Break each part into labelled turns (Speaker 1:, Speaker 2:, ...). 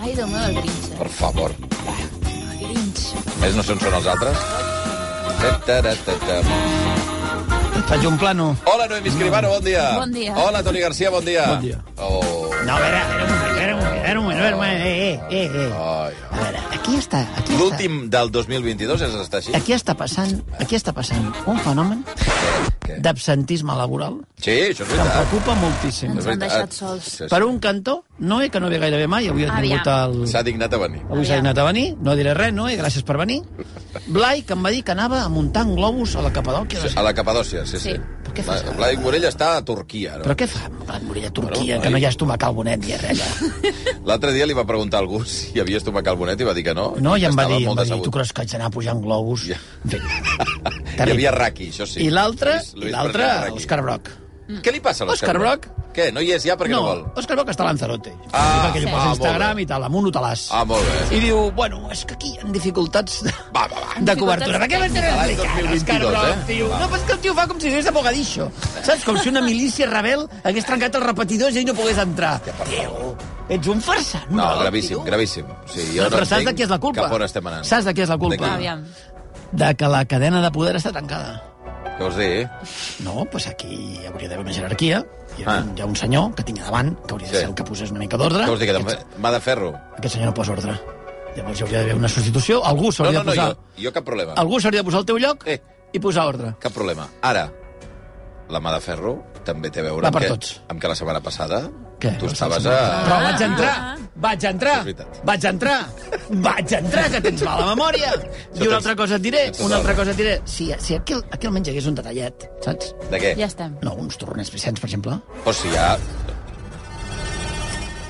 Speaker 1: Ai, Déu meu, el Grinch. eh?
Speaker 2: per favor.
Speaker 1: El Grinch.
Speaker 2: Més no se'n són els altres. Ta, ta, ta, ta, ta.
Speaker 3: Faig un plano.
Speaker 2: Hola, Noemi Escribano, bon dia.
Speaker 1: Bon dia.
Speaker 2: Hola, Toni Garcia, bon dia.
Speaker 3: Bon dia.
Speaker 2: Oh,
Speaker 3: No, a veure, a veure, a veure, a veure, un moment, a veure, un moment, eh, eh, eh, eh.
Speaker 2: ai.
Speaker 3: A veure, aquí està, aquí està,
Speaker 2: L'últim del 2022 és estar així?
Speaker 3: aquí està passant, aquí està passant un fenomen
Speaker 2: Què?
Speaker 3: d'absentisme laboral
Speaker 2: Sí, això és
Speaker 3: que em
Speaker 2: veritat.
Speaker 3: preocupa moltíssim.
Speaker 1: Ens
Speaker 2: És
Speaker 1: han
Speaker 2: veritat.
Speaker 1: deixat sols.
Speaker 2: Sí, sí.
Speaker 3: Per un cantó, Noé, que no ve gairebé mai, avui ha vingut el...
Speaker 2: S'ha dignat a venir.
Speaker 3: Avui s'ha anat a venir, no diré res, Noé, gràcies per venir. Blai, que em va dir que anava a muntar en globus a la Capadòquia.
Speaker 2: A la Capadòcia, sí, sí.
Speaker 1: Sí.
Speaker 3: Però què fas?
Speaker 2: La- Blai Morell està a Turquia, no?
Speaker 3: Però què fa amb Blai Morell a Turquia,
Speaker 2: Bueno,
Speaker 3: que no
Speaker 2: ai.
Speaker 3: hi ha estomacal bonet ni res? allà?
Speaker 2: L'altre dia li va preguntar a algú si havia estomac al bonet i va dir que no.
Speaker 3: No,
Speaker 2: i
Speaker 3: i em va dir, em
Speaker 2: molt
Speaker 3: va dir
Speaker 2: decebut.
Speaker 3: tu creus que haig d'anar pujant globus?
Speaker 2: Ja.
Speaker 3: Bé,
Speaker 2: Hi
Speaker 3: terrible.
Speaker 2: havia raqui, això sí.
Speaker 3: I l'altre,
Speaker 2: Lluís-
Speaker 3: i
Speaker 2: Lluís
Speaker 3: l'altre,
Speaker 2: President Raqui.
Speaker 3: Òscar Broc.
Speaker 2: Mm. Què li passa a l'Òscar
Speaker 3: Òscar Broc?
Speaker 2: Què, no hi és ja perquè no, vol?
Speaker 3: Òscar Broc està a Lanzarote.
Speaker 2: Ah,
Speaker 3: Sí, perquè
Speaker 2: sí.
Speaker 3: ell posa
Speaker 2: Ah, molt
Speaker 3: Instagram
Speaker 2: bé.
Speaker 3: i tal, amb un hotelàs.
Speaker 2: Ah, molt bé.
Speaker 3: I diu, bueno, és que aquí hi ha dificultats de,
Speaker 2: Va, va, va.
Speaker 3: de cobertura. Per què m'has d'anar
Speaker 2: L'any
Speaker 3: explicant, Òscar
Speaker 2: 2022,
Speaker 3: Broc,
Speaker 2: eh?
Speaker 3: tio? No, però és que el tio fa com si estigués a Mogadiscio. Saps? Com si una milícia rebel hagués trencat els repetidors i ell no pogués entrar. Tio, ets un farsant.
Speaker 2: No,
Speaker 3: Broc,
Speaker 2: gravíssim,
Speaker 3: tio.
Speaker 2: gravíssim. Sí, jo
Speaker 3: No, però saps
Speaker 2: entenc
Speaker 3: de qui és la culpa?
Speaker 2: Cap on estem anant.
Speaker 3: Saps de qui és la culpa?
Speaker 2: De qui?
Speaker 1: Aviam.
Speaker 3: De que la cadena de poder està tancada.
Speaker 2: Què vols dir?
Speaker 3: No, doncs aquí hi hauria d'haver una jerarquia. Hi ha,
Speaker 2: Ah.
Speaker 3: un, hi ha un senyor que tinc a davant, que hauria de
Speaker 2: Sí.
Speaker 3: ser el que posés una mica d'ordre.
Speaker 2: Què vols dir? Que
Speaker 3: Aquest,
Speaker 2: de... mà de ferro?
Speaker 3: aquest senyor no posa ordre. Llavors hi hauria d'haver una substitució. Algú
Speaker 2: No,
Speaker 3: s'hauria
Speaker 2: no, no,
Speaker 3: de
Speaker 2: jo,
Speaker 3: posar...
Speaker 2: jo cap problema.
Speaker 3: Algú s'hauria de posar al teu lloc
Speaker 2: Eh.
Speaker 3: i posar ordre.
Speaker 2: Cap problema. Ara, la mà de ferro també té a veure
Speaker 3: Va
Speaker 2: amb
Speaker 3: per
Speaker 2: que,
Speaker 3: tots.
Speaker 2: amb que la setmana passada
Speaker 3: Què?
Speaker 2: tu estaves a...
Speaker 3: Però vaig entrar,
Speaker 1: Ah.
Speaker 3: vaig entrar,
Speaker 2: És veritat.
Speaker 3: vaig entrar, vaig entrar, que tens mala memòria. I
Speaker 2: tens-
Speaker 3: una altra cosa et diré,
Speaker 2: tens tota
Speaker 3: una altra
Speaker 2: la
Speaker 3: cosa et diré. Si, si aquí, al- aquí almenys hi hagués un detallet, saps?
Speaker 2: De què?
Speaker 1: Ja estem.
Speaker 3: No, uns torners picents, per exemple.
Speaker 2: O sigui, ja...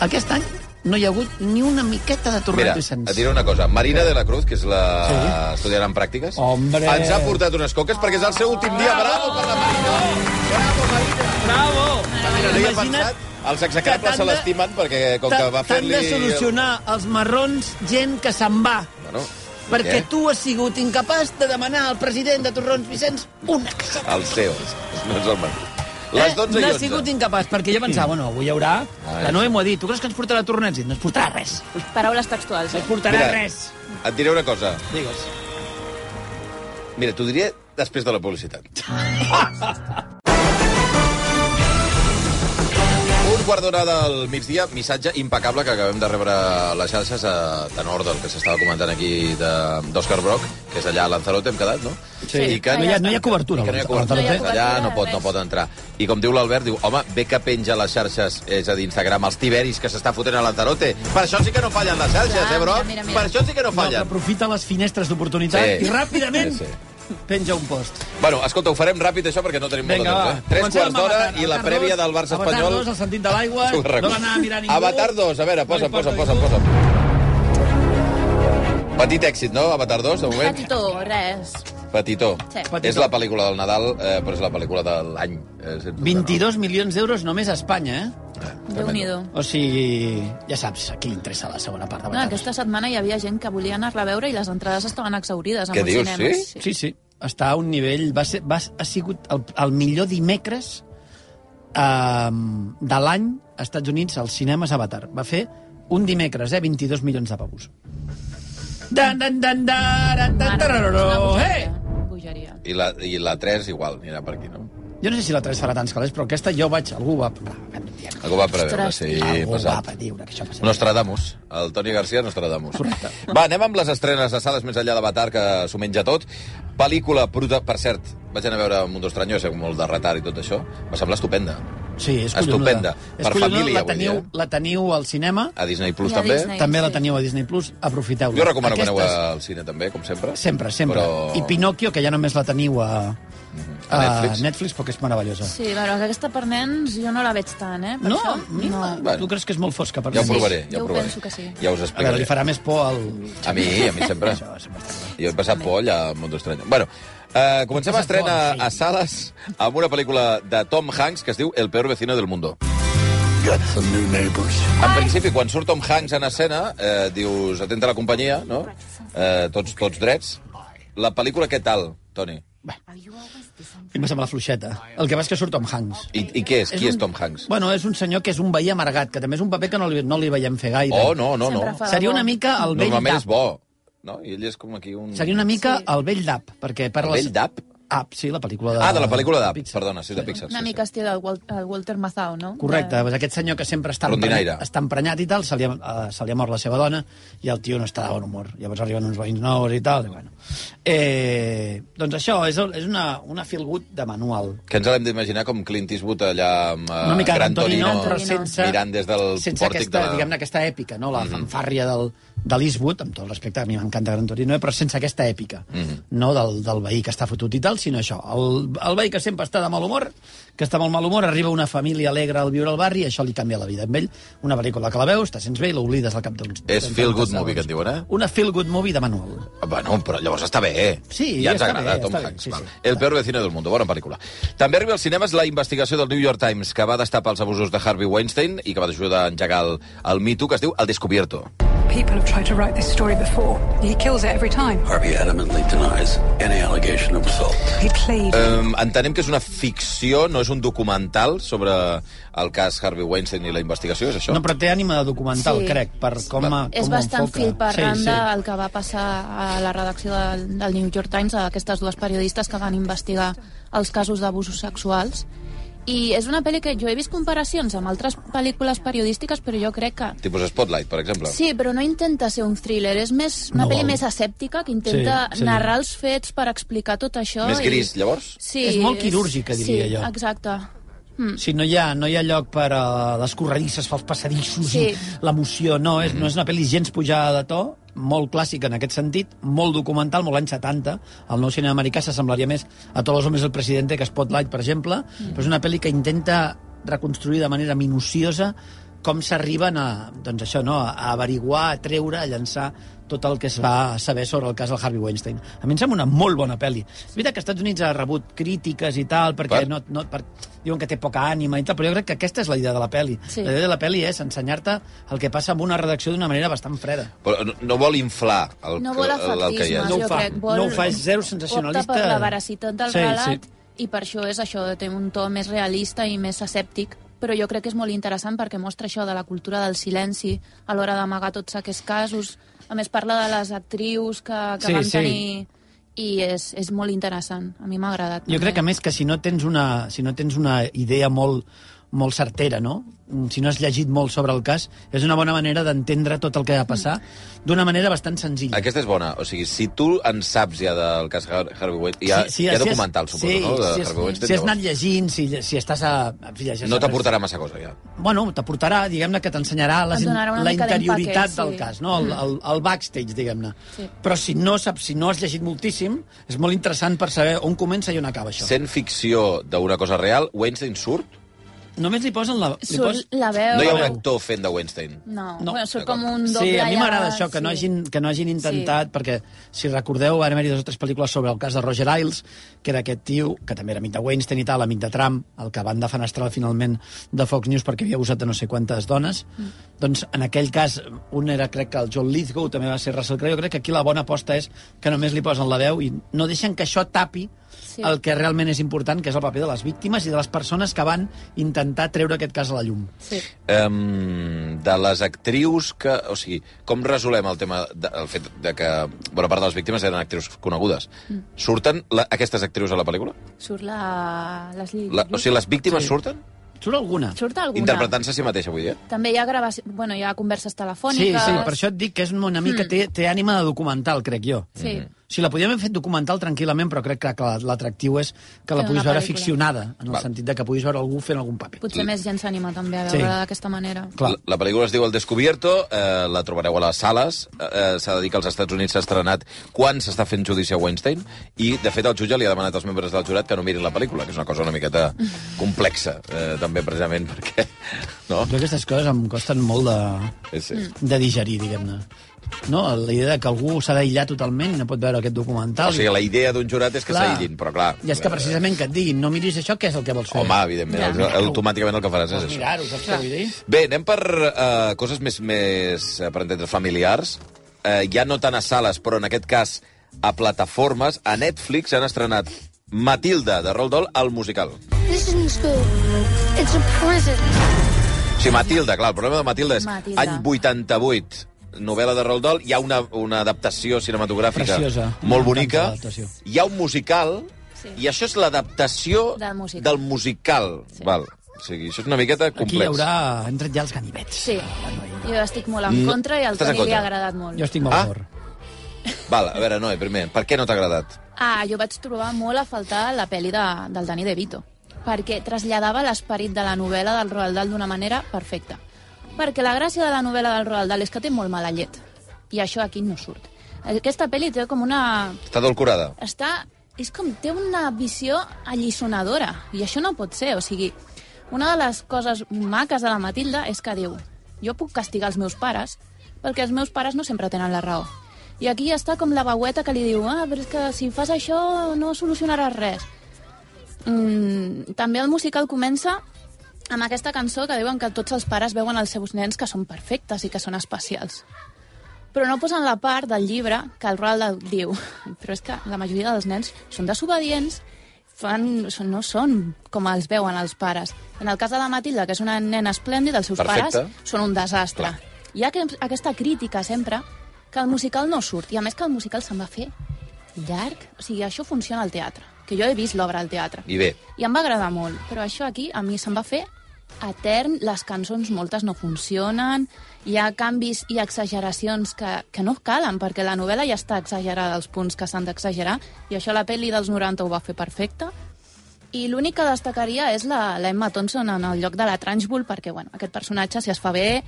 Speaker 3: Aquest any no hi ha hagut ni una miqueta de torners
Speaker 2: Mira,
Speaker 3: picents.
Speaker 2: et diré una cosa. Marina de la Cruz, que és la sí. estudiant en pràctiques,
Speaker 3: Hombre.
Speaker 2: ens ha portat unes coques perquè és el seu últim dia. Bravo per la Marina! Bravo, Marina!
Speaker 3: Bravo!
Speaker 2: Mira, no hi he
Speaker 3: Imagina't
Speaker 2: pensat. Els
Speaker 3: que
Speaker 2: exacables
Speaker 3: t'han
Speaker 2: se
Speaker 3: de-
Speaker 2: l'estimen perquè, com que va
Speaker 3: T'han
Speaker 2: fer-li...
Speaker 3: de solucionar els marrons gent que se'n va.
Speaker 2: Bueno,
Speaker 3: Perquè
Speaker 2: què?
Speaker 3: tu has sigut incapaç de demanar al president de Torrons Vicenç una caseta.
Speaker 2: El seu, no és el Marc. Les 12
Speaker 3: eh?
Speaker 2: i
Speaker 3: N'has
Speaker 2: 11.
Speaker 3: sigut incapaç, perquè jo pensava, bueno, avui hi haurà...
Speaker 2: Ah,
Speaker 3: La Noé m'ho ha dit, tu creus que ens portarà tornets? I No ens portarà res.
Speaker 1: Paraules textuals.
Speaker 3: No
Speaker 1: Eh?
Speaker 3: ens portarà
Speaker 2: Mira.
Speaker 3: res.
Speaker 2: Et diré una cosa.
Speaker 3: Digues.
Speaker 2: Mira, t'ho diré després de la publicitat. Un quart d'hora del migdia, missatge impecable que acabem de rebre a les xarxes a tenor del que s'estava comentant aquí de- d'Òscar Broc, que és allà a Lanzarote, hem quedat, no?
Speaker 3: Sí.
Speaker 2: I que,
Speaker 3: No hi ha- no hi ha cobertura,
Speaker 2: I que no hi ha
Speaker 3: a
Speaker 2: cobertura.
Speaker 1: Lanzarote.
Speaker 2: allà no pot, no pot entrar. I com diu l'Albert, diu, home, bé que penja a les xarxes, és a dir, Instagram, els tiberis que s'està fotent a Lanzarote. Per això sí que no fallen les xarxes,
Speaker 1: Clar,
Speaker 2: eh, Broc?
Speaker 1: mira, mira, mira.
Speaker 2: Per això sí que no
Speaker 3: No, però
Speaker 2: fallen.
Speaker 3: aprofita les finestres d'oportunitat
Speaker 2: Sí.
Speaker 3: i ràpidament
Speaker 2: Sí,
Speaker 3: penja un post.
Speaker 2: Bueno, escolta, ho farem ràpid, això, perquè no tenim
Speaker 3: Vinga,
Speaker 2: molt de
Speaker 3: va.
Speaker 2: temps. Eh? Tres
Speaker 3: Comencem
Speaker 2: quarts
Speaker 3: amb
Speaker 2: d'hora
Speaker 3: Avatar.
Speaker 2: i la
Speaker 3: Avatar
Speaker 2: prèvia
Speaker 3: 2,
Speaker 2: del Barça
Speaker 3: Avatar
Speaker 2: espanyol.
Speaker 3: 2, el sentit de l'aigua,
Speaker 2: Ho recordo.
Speaker 3: no l'anar a mirar ningú.
Speaker 2: Avatar 2, a veure,
Speaker 3: No
Speaker 2: posa'm,
Speaker 3: importa
Speaker 2: posa'm, posa'm,
Speaker 3: ningú.
Speaker 2: posa'm. Petit èxit, no, Avatar 2, de moment?
Speaker 1: Petitó, res.
Speaker 2: Petitó.
Speaker 1: Sí.
Speaker 3: Petitó.
Speaker 2: És la pel·lícula del Nadal, eh, però és la pel·lícula de l'any. Eh, sens dubte,
Speaker 3: 22 milions d'euros només a Espanya, eh?
Speaker 2: No?
Speaker 1: Déu-n'hi-do.
Speaker 3: O sigui, ja saps, a qui li interessa la segona part de
Speaker 1: No,
Speaker 3: Avatar.
Speaker 1: Ah, aquesta setmana hi havia gent que volia anar-la a veure i les entrades estaven exaurides a
Speaker 2: Què
Speaker 1: molts
Speaker 2: dius,
Speaker 1: cinemes.
Speaker 2: sí?
Speaker 3: Sí, sí, està a un nivell... Va ser, va, ha sigut el, el millor dimecres eh, de l'any als Estats Units als cinemes Avatar. Va fer un dimecres, eh? 22 milions de pavos. Dan, dan, dan, dan, dan, dan,
Speaker 1: Mare, és una
Speaker 3: tarararó,
Speaker 1: bogeria,
Speaker 3: eh!
Speaker 1: bogeria.
Speaker 2: I la, I la 3 igual, anirà per aquí, no?
Speaker 3: Jo no sé si la 3 farà tants calés, però aquesta jo vaig... Algú va... va dir-
Speaker 2: Algú va preveure,
Speaker 1: Ostres,
Speaker 2: sí,
Speaker 3: Algú va
Speaker 2: passat.
Speaker 3: prediure que això passarà.
Speaker 2: Nostradamus. El Toni García Nostradamus. Correcte. Va, anem amb les estrenes de sales més enllà d'Avatar, que s'ho menja tot. Pel·lícula bruta... Per cert, vaig anar a veure Mundo Estranyo, sé, amb molt de retard i tot això. Va semblar estupenda.
Speaker 3: Sí, és
Speaker 2: Estupenda.
Speaker 3: collonuda. És
Speaker 2: Per
Speaker 3: collonuda,
Speaker 2: família,
Speaker 3: la
Speaker 2: vull
Speaker 3: teniu,
Speaker 2: dir, eh?
Speaker 3: la teniu al cinema,
Speaker 2: A Disney Plus
Speaker 1: I a
Speaker 2: també.
Speaker 1: Disney.
Speaker 3: també la
Speaker 1: sí.
Speaker 3: teniu a Disney+, Plus, aprofiteu-la.
Speaker 2: Jo recomano que aneu al cine també, com sempre.
Speaker 3: Sempre, sempre.
Speaker 2: Però...
Speaker 3: I Pinocchio, que ja només la teniu a...
Speaker 2: A Netflix?
Speaker 3: Uh, Netflix, però que és meravellosa.
Speaker 1: Sí, però aquesta per nens jo no la veig tant, eh? Per
Speaker 3: No,
Speaker 1: això?
Speaker 3: no.
Speaker 2: Bueno.
Speaker 3: tu creus que és molt fosca? Per
Speaker 2: Ja ho
Speaker 3: mi?
Speaker 2: provaré,
Speaker 1: Sí,
Speaker 2: ja
Speaker 1: jo
Speaker 2: ho provaré.
Speaker 1: penso que sí.
Speaker 2: Ja us
Speaker 3: A veure,
Speaker 2: explicaré.
Speaker 3: li farà més por al...
Speaker 2: A mi, a mi sempre.
Speaker 3: Això, sempre està clar.
Speaker 2: Jo he passat por allà al Mundo Estrany. Bueno, eh, comencem a
Speaker 3: Passat por,
Speaker 2: estrenar
Speaker 3: sí.
Speaker 2: a sales amb una pel·lícula de Tom Hanks que es diu El peor vecino del mundo.
Speaker 4: Got some new neighbors.
Speaker 2: En principi, quan surt Tom Hanks en escena, eh, dius, atenta a la companyia, no? Eh, tots, tots drets. La pel·lícula què tal, Toni?
Speaker 3: A mi em sembla fluixeta. El que va és que surt Tom Hanks.
Speaker 2: I, i què és? Qui és
Speaker 3: un-
Speaker 2: Tom Hanks?
Speaker 3: Bueno, és un senyor que és un veí amargat, que també és un paper que no li, no li veiem fer gaire.
Speaker 2: Oh, no, no, no.
Speaker 1: Sempre fa-
Speaker 3: Seria una mica el vell
Speaker 2: Normalment és
Speaker 3: d'App.
Speaker 2: bo, no? I ell és com aquí un...
Speaker 3: Seria una mica
Speaker 1: Sí.
Speaker 3: el vell d'App, perquè
Speaker 2: El
Speaker 3: parla...
Speaker 2: vell d'App?
Speaker 3: App, sí, la pel·lícula de...
Speaker 2: Ah, de la pel·lícula d'App,
Speaker 3: Pixar.
Speaker 2: perdona, sí, de Pixar.
Speaker 1: Una
Speaker 2: sí,
Speaker 1: mica
Speaker 2: sí.
Speaker 1: estil del Wal- el Walter Mazau, no?
Speaker 3: Correcte,
Speaker 1: De...
Speaker 3: doncs aquest senyor que sempre està
Speaker 2: Rondinaire.
Speaker 3: emprenyat, està emprenyat i tal, se li, ha, eh, se li ha mort la seva dona i el tio no està de bon humor. Llavors arriben uns veïns nous i tal. I bueno. eh, doncs això, és, el- és una, una feel good de manual.
Speaker 2: Que ens l'hem d'imaginar com Clint Eastwood allà amb eh,
Speaker 3: Una mica
Speaker 2: Gran
Speaker 3: d'Antonino,
Speaker 2: Torino,
Speaker 3: però sense...
Speaker 2: mirant des del
Speaker 3: sense
Speaker 2: pòrtic
Speaker 3: aquesta,
Speaker 2: de la... Mhm.
Speaker 3: diguem-ne, aquesta èpica, no? la fanfàrria del, de l'Eastwood, amb tot el respecte, a mi m'encanta Gran Torino, eh, però sense aquesta èpica,
Speaker 2: Mhm.
Speaker 3: no del, del veí que està fotut i tal, sinó això, el, el veí que sempre està de mal humor, que està molt mal humor, arriba una família alegre al viure al barri i això li canvia la vida. Amb ell, una pel·lícula que la veus, te sents bé i l'oblides al cap d'uns...
Speaker 2: És
Speaker 3: d'uns
Speaker 2: feel good
Speaker 3: segons.
Speaker 2: movie, que en diuen, eh?
Speaker 3: Una feel-good movie de manual.
Speaker 2: Ah, Bueno, però llavors està bé.
Speaker 3: Sí,
Speaker 2: ja ens
Speaker 3: està
Speaker 2: agrada,
Speaker 3: bé,
Speaker 2: Tom
Speaker 3: està bé,
Speaker 2: Hanks.
Speaker 3: sí,
Speaker 2: val.
Speaker 3: sí.
Speaker 2: El peor vecino del mundo, bona pel·lícula. També arriba als cinemes la investigació del New York Times que va destapar els abusos de Harvey Weinstein i que va ajudar a engegar el, el mito que es diu El Descubierto.
Speaker 5: People have tried to write this story before. He kills it every time.
Speaker 4: Harvey adamantly denies any allegation of assault.
Speaker 5: He pleads.
Speaker 2: Um, entenem que és una ficció, no és un documental sobre el cas Harvey Weinstein i la investigació, és això?
Speaker 3: No, però té ànima de documental,
Speaker 1: Sí.
Speaker 3: crec, per com, a, Ah, com
Speaker 1: És bastant
Speaker 3: enfoca.
Speaker 1: fil per randa el que va passar a la redacció del, del New York Times a aquestes dues periodistes que van investigar els casos d'abusos sexuals. I és una pel·li que jo he vist comparacions amb altres pel·lícules periodístiques, però jo crec que
Speaker 2: Tipus Spotlight, per exemple.
Speaker 1: Sí, però no intenta ser un thriller, és més una
Speaker 3: No
Speaker 1: pel·li
Speaker 3: vol.
Speaker 1: més asèptica que intenta
Speaker 3: Sí,
Speaker 1: sí,
Speaker 3: sí.
Speaker 1: sí. narrar els fets per explicar tot això.
Speaker 2: Més gris, llavors?
Speaker 1: Sí,
Speaker 3: És molt quirúrgica, diria
Speaker 1: sí,
Speaker 3: jo.
Speaker 1: exacte.
Speaker 3: Sí, no hi ha, no hi ha lloc per a les corredisses, pels passadissos, sí.
Speaker 1: Sí.
Speaker 3: l'emoció. No, és, no és una pel·li gens pujada de to, molt clàssica en aquest sentit, molt documental, molt anys 70. El nou cinema americà s'assemblaria més a Todos los hombres del presidente que a Spotlight, per exemple, mm. però és una pel·li que intenta reconstruir de manera minuciosa com s'arriben a, doncs això, no, a averiguar, a treure, a llançar tot el que es va saber sobre el cas del Harvey Weinstein. A mi em sembla una molt bona pel·li. És veritat que als Estats Units ha rebut crítiques i tal, perquè
Speaker 2: Per?
Speaker 3: no, no, per, diuen que té poca ànima i tal, però jo crec que aquesta és la idea de la pel·li. Sí.
Speaker 1: Sí.
Speaker 3: La idea de la pel·li és ensenyar-te el que passa amb una redacció d'una manera bastant freda.
Speaker 2: Però no, no vol inflar el,
Speaker 1: No vol
Speaker 2: el- el, que hi
Speaker 1: efectisme,
Speaker 2: ha.
Speaker 3: No ho
Speaker 1: jo
Speaker 3: fa,
Speaker 1: crec. Vol,
Speaker 3: no ho fa, és zero sensacionalista.
Speaker 1: Opta per la veracitat del
Speaker 3: Sí, sí.
Speaker 1: relat i per això és això, té un to més realista i més asèptic però jo crec que és molt interessant perquè mostra això de la cultura del silenci a l'hora d'amagar tots aquests casos. A més, parla de les actrius que, que
Speaker 3: Sí,
Speaker 1: van
Speaker 3: sí.
Speaker 1: tenir... I és, és molt interessant. A mi m'ha agradat.
Speaker 3: Jo crec que, a més, que si no tens una, si no tens una idea molt, molt certera, no? Mm, si no has llegit molt sobre el cas, és una bona manera d'entendre tot el que va passar d'una manera bastant senzilla.
Speaker 2: Aquesta és bona. O sigui, si tu en saps ja del cas Har- Harvey Weinstein... Hi ha, sí, sí, hi ha
Speaker 3: has-
Speaker 2: documental, suposo,
Speaker 3: sí,
Speaker 2: no? De
Speaker 3: si,
Speaker 2: Harvey
Speaker 3: has,
Speaker 2: Weinstein.
Speaker 3: si has
Speaker 2: llavors.
Speaker 3: anat llegint, si, lle- si estàs a... en fi, llegeixes-
Speaker 2: No t'aportarà massa cosa, ja.
Speaker 3: Bueno, t'aportarà, diguem-ne, que t'ensenyarà les-
Speaker 1: Et donarà una
Speaker 3: la
Speaker 1: mica d'empaque,
Speaker 3: interioritat
Speaker 1: sí. Mm.
Speaker 3: del cas, no? El, el, el backstage, diguem-ne.
Speaker 1: Sí.
Speaker 3: Però si no saps, si no has llegit moltíssim, és molt interessant per saber on comença i on acaba això.
Speaker 2: Sent ficció d'una cosa real, Weinstein surt?
Speaker 3: Només li posen la... Li pos...
Speaker 1: Surt la veu...
Speaker 2: No hi ha un actor fent de Weinstein.
Speaker 1: No,
Speaker 3: No.
Speaker 1: no. Bueno, surt com un doble...
Speaker 3: Sí, a mi
Speaker 1: allà,
Speaker 3: m'agrada això, que, no
Speaker 1: sí.
Speaker 3: hagin, que no hagin intentat, sí. perquè si recordeu, van haver-hi dues o tres pel·lícules sobre el cas de Roger Ailes, que era aquest tio, que també era amic de Weinstein i tal, amic de Trump, el que van defenestrar finalment de Fox News perquè havia abusat de no sé quantes dones. Mm. Doncs en aquell cas, un era, crec que el John Lithgow, també va ser Russell Crowe. Jo crec que aquí la bona aposta és que només li posen la veu i no deixen que això tapi sí.
Speaker 1: Sí.
Speaker 3: el que realment és important, que és el paper de les víctimes i de les persones que van intentar treure aquest cas a la llum.
Speaker 1: Sí.
Speaker 2: Um, de les actrius que... O sigui, com resolem el tema de, el fet de que bona part de les víctimes eren actrius conegudes? Mm. Surten la, aquestes actrius a la pel·lícula?
Speaker 1: Surt la... Les...
Speaker 2: La, o sigui, les víctimes sí. surten?
Speaker 3: Surt alguna?
Speaker 1: Surt alguna.
Speaker 2: Interpretant-se a si mateixa, vull dir. eh?
Speaker 1: També hi ha, gravaci... bueno, hi ha converses
Speaker 3: Sí,
Speaker 1: telefòniques... Hmm.
Speaker 3: sí, per això et dic Mm. que és una mica... Té, té ànima de documental, crec jo.
Speaker 1: Sí.
Speaker 3: sigui, la podíem haver fet documental tranquil·lament, però crec que clar, l'atractiu és que la
Speaker 1: Fer
Speaker 3: puguis
Speaker 1: una
Speaker 3: veure
Speaker 1: pel·lícula.
Speaker 3: ficcionada, en el
Speaker 2: Val.
Speaker 3: sentit de que puguis veure algú fent algun paper.
Speaker 1: Potser més gent s'anima també a
Speaker 3: Sí.
Speaker 1: veure d'aquesta manera.
Speaker 3: Clar.
Speaker 2: La, la pel·lícula es diu El Descubierto, eh, la trobareu a les sales, eh, eh, s'ha de dir que als Estats Units s'ha estrenat quan s'està fent judici a Weinstein, i de fet el jutge li ha demanat als membres del jurat que no mirin la pel·lícula, que és una cosa una miqueta complexa, eh, també precisament perquè... No?
Speaker 3: Jo Mm. aquestes coses em costen molt de,
Speaker 2: És, és...
Speaker 3: de digerir, diguem-ne. No, la idea de que algú s'ha d'aïllar totalment i no pot veure aquest documental.
Speaker 2: O sigui, la idea d'un jurat és que
Speaker 3: Clar.
Speaker 2: s'aïllin, però clar... eh,
Speaker 3: I és que precisament que et diguin, no miris això, què és el que vols fer?
Speaker 2: Home, evidentment,
Speaker 1: Ja.
Speaker 2: ja. automàticament el que faràs és
Speaker 3: Pues
Speaker 2: això.
Speaker 3: mirar-ho, saps què vull dir?
Speaker 2: Bé, anem per uh, coses més, més eh, per entendre, familiars. Uh, ja no tant a sales, però en aquest cas a plataformes. A Netflix han estrenat Matilda, de Roald Dahl, al musical.
Speaker 6: This isn't school. It's a prison.
Speaker 2: Sí, Matilda, clar, el problema de Matilda és
Speaker 1: Matilda.
Speaker 2: any 88, novel·la de Roald Dahl, hi ha una, una adaptació cinematogràfica
Speaker 3: Preciosa.
Speaker 2: molt bonica,
Speaker 3: M'encanta l'adaptació.
Speaker 2: hi ha un musical,
Speaker 1: Sí.
Speaker 2: sí. i això és l'adaptació
Speaker 1: Del musical.
Speaker 2: del musical.
Speaker 1: Sí.
Speaker 2: Val. O sigui, això és una miqueta complex.
Speaker 3: Aquí hi haurà... Hem tret ja els ganivets.
Speaker 1: Sí, jo estic molt en
Speaker 2: No,
Speaker 1: contra i al
Speaker 2: estàs en
Speaker 1: Toni
Speaker 2: contra.
Speaker 1: li ha agradat molt.
Speaker 3: Jo estic molt
Speaker 2: Ah.
Speaker 3: ah. fort.
Speaker 2: Val, a veure, Noe, primer, per què no t'ha agradat?
Speaker 1: Ah, jo vaig trobar molt a faltar la pel·li de, del Dani De Vito, perquè traslladava l'esperit de la novel·la del Roald Dahl d'una manera perfecta. Perquè la gràcia de la novel·la del Roald Dahl és que té molt mala llet, i això aquí no surt. Aquesta pel·li té com una...
Speaker 2: Està dolcorada?
Speaker 1: Està... És com... Té una visió allisonadora, i això no pot ser, o sigui... Una de les coses maques de la Matilda és que diu jo puc castigar els meus pares perquè els meus pares no sempre tenen la raó. I aquí està com la veueta que li diu ah, però és que si fas això no solucionaràs res. Mm, també el musical comença amb aquesta cançó que diuen que tots els pares veuen els seus nens que són perfectes i que són especials. Però no posen la part del llibre que el Roald Dahl diu. Però és que la majoria dels nens són desobedients, fan, són, no són com els veuen els pares. En el cas de la Matilda, que és una nena esplèndida, els seus
Speaker 2: Perfecte.
Speaker 1: pares són un desastre.
Speaker 2: Clar.
Speaker 1: Hi ha que, aquesta crítica sempre que el musical no surt. I a més que el musical se'n va fer llarg. O sigui, això funciona al teatre. Que jo he vist l'obra al teatre.
Speaker 2: I bé,
Speaker 1: I em va agradar molt, però això aquí a mi se'm va fer etern, les cançons moltes no funcionen, hi ha canvis i exageracions que, que no calen, perquè la novel·la ja està exagerada els punts que s'han d'exagerar, i això la pel·li dels 90 ho va fer perfecte, i l'únic que destacaria és la, la Emma Thompson en el lloc de la Trunchbull, perquè bueno, aquest personatge, si es fa bé,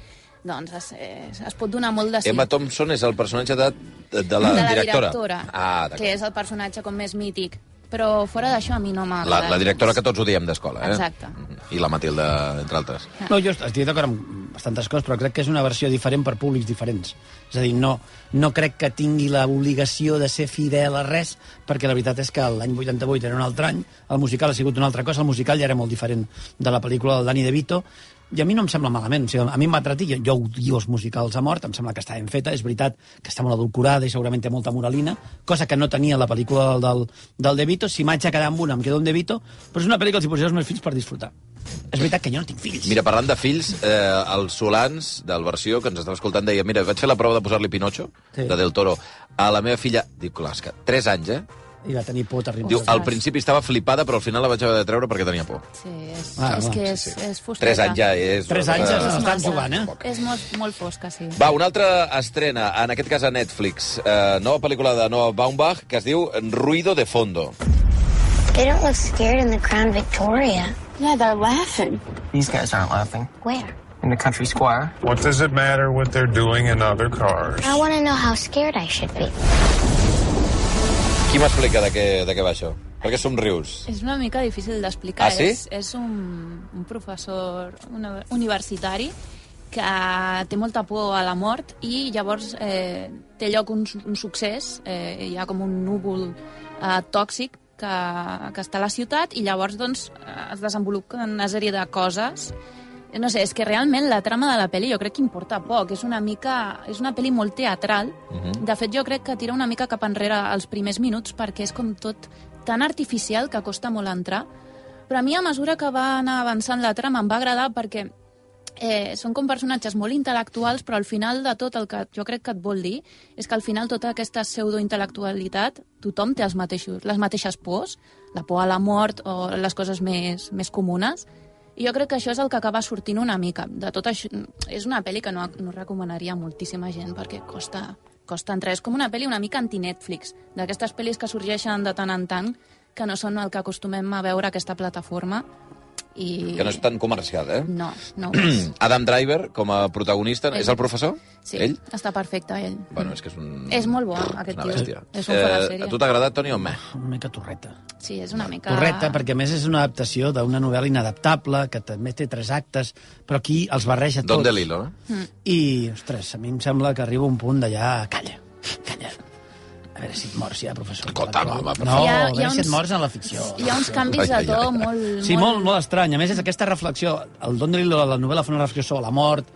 Speaker 1: doncs es, es, es pot donar molt de
Speaker 2: sí.
Speaker 1: sí
Speaker 2: Emma Thompson és el personatge de, de, de la
Speaker 1: de la
Speaker 2: directora.
Speaker 1: directora
Speaker 2: Ah,
Speaker 1: que
Speaker 2: d'acord.
Speaker 1: és el personatge com més mític. Però fora d'això a mi no m'ha
Speaker 2: La,
Speaker 1: agradat
Speaker 2: la directora
Speaker 1: gens.
Speaker 2: que tots odiem d'escola, eh?
Speaker 1: doncs Exacte.
Speaker 2: I la Matilda, entre altres.
Speaker 3: No, jo estic d'acord amb bastantes coses, però crec que és una versió diferent per públics diferents. És a dir, no, no crec que tingui l'obligació de ser fidel a res, perquè la veritat és que l'any 88 era un altre any, el musical ha sigut una altra cosa, el musical ja era molt diferent de la pel·lícula del Dani De Vito, i a mi no em sembla malament, o sigui, a mi em va atratir, jo, jo odio els musicals a mort, em sembla que està ben feta, és veritat que està molt adulcorada i segurament té molta moralina, cosa que no tenia la pel·lícula del, del, del De Vito, si m'haig de quedar amb una em quedo amb De Vito, però és una pel·lícula que els hi posaré als meus fills per disfrutar. És veritat que jo no tinc fills.
Speaker 2: Mira, parlant de fills, eh, el Solans, del versió, que ens estava escoltant, deia, mira, vaig fer la prova de posar-li Pinocho,
Speaker 3: Sí.
Speaker 2: sí. de Del Toro, a la meva filla, dic, clar, és que 3 anys, eh?
Speaker 3: I va tenir por terrible.
Speaker 2: Diu,
Speaker 3: Diu,
Speaker 2: al principi estava flipada, però al final la vaig haver de treure perquè tenia por.
Speaker 1: Sí, és,
Speaker 3: Ah,
Speaker 1: ah, és
Speaker 3: va,
Speaker 1: que és,
Speaker 2: sí.
Speaker 1: és fosqueta.
Speaker 2: 3 anys ja és...
Speaker 3: Tres
Speaker 2: una
Speaker 3: anys
Speaker 2: cosa-
Speaker 3: ja se n'estan jugant, eh?
Speaker 1: És molt, molt fosca, sí.
Speaker 2: Va, una altra estrena, en aquest cas a Netflix, eh, nova pel·lícula de Noah Baumbach, que es diu Ruido de Fondo.
Speaker 6: They don't look scared in the Crown Victoria.
Speaker 7: Yeah, they're laughing.
Speaker 8: These guys aren't laughing.
Speaker 6: Where?
Speaker 8: In the country square.
Speaker 9: What does it matter what they're doing in other cars?
Speaker 6: I want to know how scared I should be.
Speaker 2: Qui m'explica de què, de què va això? Perquè somrius.
Speaker 1: És una mica difícil d'explicar.
Speaker 2: Ah, sí?
Speaker 1: És, és un, un professor una, universitari que té molta por a la mort i llavors eh, té lloc un, un succés, eh, hi ha com un núvol eh, tòxic que, que està a la ciutat i llavors doncs, eh, es desenvolupa una sèrie de coses Eh, no sé, és que realment la trama de la pel·li jo crec que importa poc, és una mica és una pel·li molt teatral de fet jo crec que tira una mica cap enrere els primers minuts perquè és com tot tan artificial que costa molt entrar però a mi a mesura que va anar avançant la trama em va agradar perquè eh, són com personatges molt intel·lectuals, però al final de tot el que jo crec que et vol dir és que al final tota aquesta pseudointel·lectualitat tothom té els mateixos, les mateixes pors, la por a la mort o les coses més, més comunes, i jo crec que això és el que acaba sortint una mica. De tot això, és una pel·li que no, no recomanaria a moltíssima gent perquè costa, costen tres. Com una pel·li una mica anti-Netflix, d'aquestes pel·lis que sorgeixen de tant en tant, que no són el que acostumem a veure a aquesta plataforma. I...
Speaker 2: Que no és tan comercial, eh? Mm.
Speaker 1: No, no ho és.
Speaker 2: Adam Driver, com a protagonista, és el professor?
Speaker 1: Sí,
Speaker 2: Ell?
Speaker 1: està perfecte, ell.
Speaker 2: Bueno, és que és un...
Speaker 1: És molt bo, aquest
Speaker 2: una
Speaker 1: tio.
Speaker 2: bèstia. Eh,
Speaker 1: És un fora de sèrie.
Speaker 2: a tu t'ha agradat, Toni, o meh?
Speaker 3: Una mica torreta.
Speaker 1: Sí, és una mica...
Speaker 3: Correcte, perquè a més és una adaptació d'una novel·la inadaptable, que també té tres actes, però aquí els barreja tots.
Speaker 2: Don DeLillo, eh?
Speaker 3: I, ostres, a mi em sembla que arriba un punt d'allà... Calla, calla. A veure si et mors ja, professor.
Speaker 2: Escolta'm, home, per
Speaker 3: No,
Speaker 1: Hi
Speaker 3: a
Speaker 1: ha- hi ha
Speaker 3: veure si et
Speaker 1: uns-
Speaker 3: mors en la ficció.
Speaker 1: Hi ha uns canvis de
Speaker 2: Ai, ai,
Speaker 1: to
Speaker 2: ai.
Speaker 1: molt...
Speaker 3: Sí, molt, molt estrany. A més, és aquesta reflexió... El Don DeLillo de la novel·la fa una reflexió sobre la mort,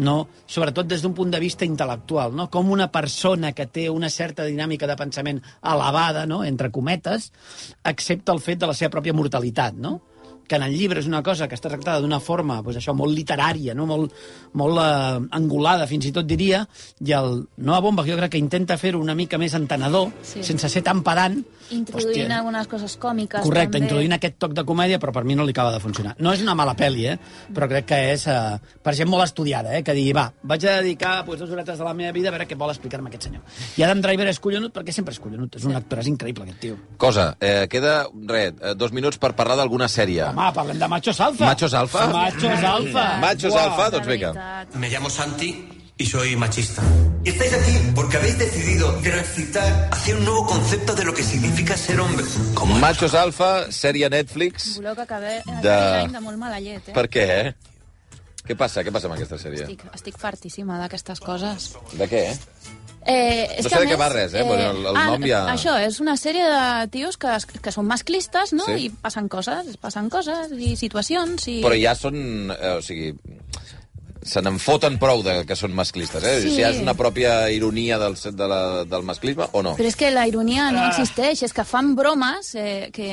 Speaker 3: no? sobretot des d'un punt de vista intel·lectual, no? com una persona que té una certa dinàmica de pensament elevada, no? entre cometes, accepta el fet de la seva pròpia mortalitat, no? que en el llibre és una cosa que està tractada d'una forma doncs això, molt literària, no? molt, molt eh, angulada, fins i tot diria, i el Noa Bomba, que jo crec que intenta fer-ho una mica més entenedor,
Speaker 1: Sí.
Speaker 3: sí. sense ser tan pedant.
Speaker 1: Introduint
Speaker 3: Hòstia.
Speaker 1: algunes coses còmiques,
Speaker 3: Correcte,
Speaker 1: també.
Speaker 3: introduint aquest toc de comèdia, però per mi no li acaba de funcionar. No és una mala pel·li, eh? però crec que és eh, per gent molt estudiada, eh? que digui, va, vaig a dedicar pues, dues horetes de la meva vida a veure què vol explicar-me aquest senyor. I Adam Driver és collonut perquè sempre és collonut. És un actor, és increïble, aquest tio.
Speaker 2: Cosa, eh, queda, res, eh, dos minuts per parlar d'alguna sèrie.
Speaker 3: Home, parlem de Machos Alfa.
Speaker 2: Machos Alfa?
Speaker 3: Machos Alfa.
Speaker 2: Machos
Speaker 3: Uau.
Speaker 2: Alfa,
Speaker 1: La
Speaker 2: doncs vinga.
Speaker 1: veritat.
Speaker 7: Me llamo Santi y soy machista. Y estáis aquí porque habéis decidido transitar hacia un nuevo concepto de lo que significa ser hombre. Como
Speaker 2: Machos Alfa, sèrie Netflix.
Speaker 1: Voleu que acabi
Speaker 2: De-
Speaker 1: de... l'any de molt mala llet, eh?
Speaker 2: Per què, eh? Què passa? Què passa amb aquesta sèrie?
Speaker 1: Estic, estic fartíssima d'aquestes coses.
Speaker 2: De què, eh?
Speaker 1: Eh, és
Speaker 2: No
Speaker 1: que
Speaker 2: sé
Speaker 1: a
Speaker 2: de què
Speaker 1: més,
Speaker 2: va res, eh, però el- el
Speaker 1: ah,
Speaker 2: nom ja-
Speaker 1: Això, és una sèrie de tios que, es- que són masclistes, no?
Speaker 2: Sí.
Speaker 1: I passen coses, passen coses, i situacions, i...
Speaker 2: Però ja són... Eh, o sigui, se n'en foten prou de que són masclistes, eh?
Speaker 1: Sí.
Speaker 2: Si hi ha una pròpia ironia del, de la, del masclisme o no?
Speaker 1: Però és que la ironia
Speaker 3: Ah.
Speaker 1: no existeix, és que fan bromes eh, que,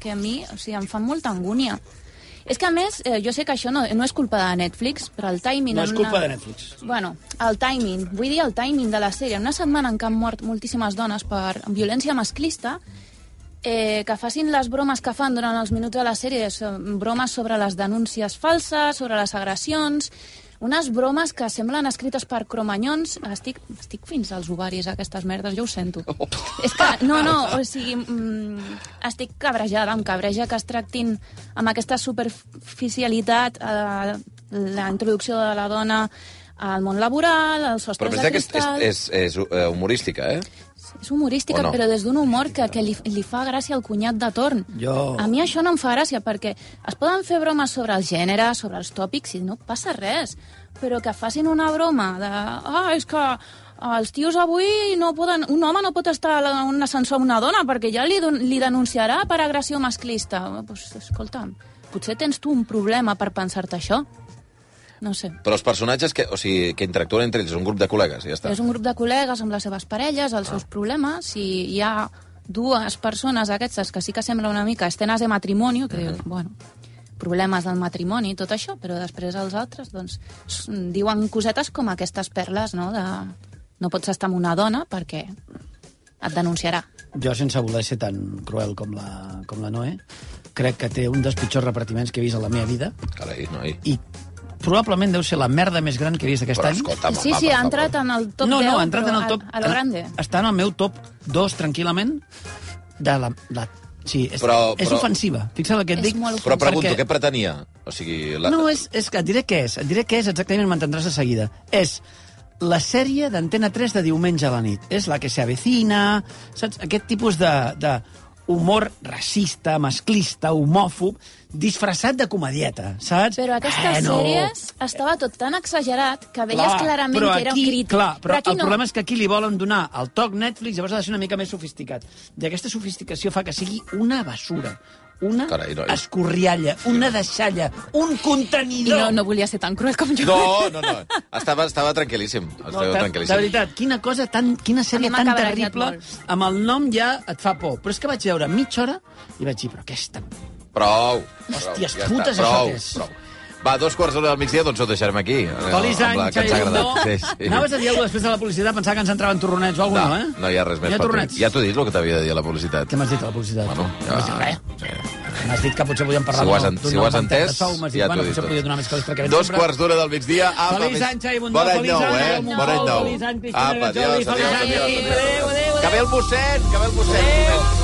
Speaker 1: que a mi o sigui, em fan molta angúnia. És que, a més, eh, jo sé que això no, no és culpa de Netflix, però el timing...
Speaker 3: No
Speaker 1: en
Speaker 3: és culpa de Netflix.
Speaker 1: Bueno, el timing, vull dir el timing de la sèrie. En Una setmana en què han mort moltíssimes dones per violència masclista, eh, que facin les bromes que fan durant els minuts de la sèrie, so- bromes sobre les denúncies falses, sobre les agressions, unes bromes que semblen escrites per cromanyons. Estic, estic fins als ovaris, aquestes merdes, jo ho sento.
Speaker 2: Oh,
Speaker 1: És que, no, no, o sigui, mm, estic cabrejada, em cabreja que es tractin amb aquesta superficialitat eh, la introducció de la dona al món laboral, als
Speaker 2: Però
Speaker 1: sostres
Speaker 2: penseu
Speaker 1: de
Speaker 2: que és,
Speaker 1: cristal...
Speaker 2: és, és, és eh, humorística, eh?
Speaker 1: És humorística,
Speaker 2: O no?
Speaker 1: no? però des d'un humor que, que li, li fa gràcia al cunyat de torn.
Speaker 3: Jo-
Speaker 1: A mi això no em fa gràcia, perquè es poden fer bromes sobre el gènere, sobre els tòpics, i no passa res. Però que facin una broma de... Ah, és que els tios avui no poden... Un home no pot estar a un ascensor amb una dona perquè ja li, don- li denunciarà per agressió masclista. Pues, escolta'm, potser tens tu un problema per pensar-te això. No sé.
Speaker 2: Però els personatges que, o sigui, que interactuen entre ells, és un grup de col·legues, i ja està.
Speaker 1: És un grup de col·legues amb les seves parelles,
Speaker 2: Ah.
Speaker 1: els seus problemes, i hi ha dues persones aquestes que sí que sembla una mica escenes de matrimoni, que
Speaker 2: Mhm.
Speaker 1: dius, bueno, problemes del matrimoni i tot això, però després els altres doncs, s- diuen cosetes com aquestes perles, no? De, no pots estar amb una dona perquè et denunciarà.
Speaker 3: Jo, sense voler ser tan cruel com la, com la Noé, crec que té un dels pitjors repartiments que he vist a la meva vida
Speaker 2: Carai, noi.
Speaker 3: i probablement deu ser la merda més gran que he vist aquest
Speaker 2: Però
Speaker 3: any.
Speaker 2: escolta'm, home,
Speaker 1: sí, sí,
Speaker 2: per
Speaker 1: ha
Speaker 2: favor.
Speaker 1: entrat en el top
Speaker 3: no,
Speaker 1: 10,
Speaker 3: no, ha entrat en
Speaker 1: però
Speaker 3: Ah, el top...
Speaker 1: A, a lo grande.
Speaker 3: Està en el meu top 2, tranquil·lament, de la... la sí, és, però,
Speaker 2: Però-
Speaker 3: és
Speaker 2: però-
Speaker 3: ofensiva. Fixa't el que et
Speaker 1: És
Speaker 3: dic.
Speaker 1: molt
Speaker 2: Però pregunto,
Speaker 3: perquè-
Speaker 2: què pretenia? O sigui, la...
Speaker 3: No, és, és que et diré què és. Et diré què és exactament, m'entendràs de seguida. És la sèrie d'Antena 3 de diumenge a la nit. És la que se avecina, saps? Aquest tipus de, de humor racista, masclista, homòfob, disfressat de comedieta, saps?
Speaker 1: Però aquestes sèries estava tot tan exagerat que veies
Speaker 3: Clar,
Speaker 1: clarament
Speaker 3: però
Speaker 1: que era un
Speaker 3: aquí,
Speaker 1: crític.
Speaker 3: Clar, però,
Speaker 1: però aquí
Speaker 3: el
Speaker 1: no.
Speaker 3: problema és que aquí li volen donar el toc Netflix, llavors ha de ser una mica més sofisticat. I aquesta sofisticació fa que sigui una basura, una
Speaker 2: Carai, noi.
Speaker 3: escorrialla, una deixalla, un
Speaker 1: I
Speaker 3: contenidor.
Speaker 1: no, no volia ser tan cruel com jo.
Speaker 2: No, no, no. Estava, estava tranquil·líssim. Estava
Speaker 3: No, de, de
Speaker 2: tranquil·líssim.
Speaker 3: veritat, quina cosa tan, quina
Speaker 1: A
Speaker 3: sèrie
Speaker 1: mi m'ha
Speaker 3: tan
Speaker 1: cabrejat
Speaker 3: terrible,
Speaker 1: molt.
Speaker 3: amb el nom ja et fa por. Però és que vaig veure mitja hora i vaig dir, però aquesta...
Speaker 2: Prou.
Speaker 3: Hòsties
Speaker 2: prou, ja està,
Speaker 3: putes, això
Speaker 2: prou,
Speaker 3: que és.
Speaker 2: Prou. Va, dos quarts d'hora del migdia, doncs ho deixarem aquí.
Speaker 3: Toli Zany,
Speaker 2: Xavi
Speaker 3: Xavi Bundó.
Speaker 2: Sí, sí.
Speaker 3: Anaves a dir alguna cosa després de la publicitat, pensava que ens entraven torronets o alguna
Speaker 2: no,
Speaker 3: cosa, eh?
Speaker 2: no hi ha res més.
Speaker 3: Hi
Speaker 2: per
Speaker 3: ha
Speaker 2: dir.
Speaker 3: torronets.
Speaker 2: Ja t'ho he dit el que t'havia de dir a la publicitat.
Speaker 3: Què m'has dit a la publicitat?
Speaker 2: Bueno,
Speaker 3: No m'has dit res.
Speaker 2: ja...
Speaker 3: M'has dit que potser podíem parlar
Speaker 2: Si ho has, en,
Speaker 3: d'una
Speaker 2: si ho has
Speaker 3: augmentada de
Speaker 2: entès,
Speaker 3: sou, m'has dit,
Speaker 2: ja t'ho he
Speaker 3: bueno,
Speaker 2: dit
Speaker 3: potser
Speaker 2: tot.
Speaker 3: podíem donar més coses perquè...
Speaker 2: Dos
Speaker 3: sempre-
Speaker 2: quarts d'una del migdia. Apa,
Speaker 3: Feliç
Speaker 2: més-
Speaker 3: any, Xavi Bundó,
Speaker 2: Bon any
Speaker 3: feliç
Speaker 2: nou,
Speaker 3: any,
Speaker 2: eh?
Speaker 3: Xavi
Speaker 2: Bon any
Speaker 3: Bundó,
Speaker 2: nou.
Speaker 3: feliç any, Cristina
Speaker 2: Apa,
Speaker 3: Gazzoli,
Speaker 2: adiós, adiós,
Speaker 3: feliç any.
Speaker 2: adiós.
Speaker 3: Adéu, adéu, adéu.
Speaker 2: Que ve el busset, que ve el busset.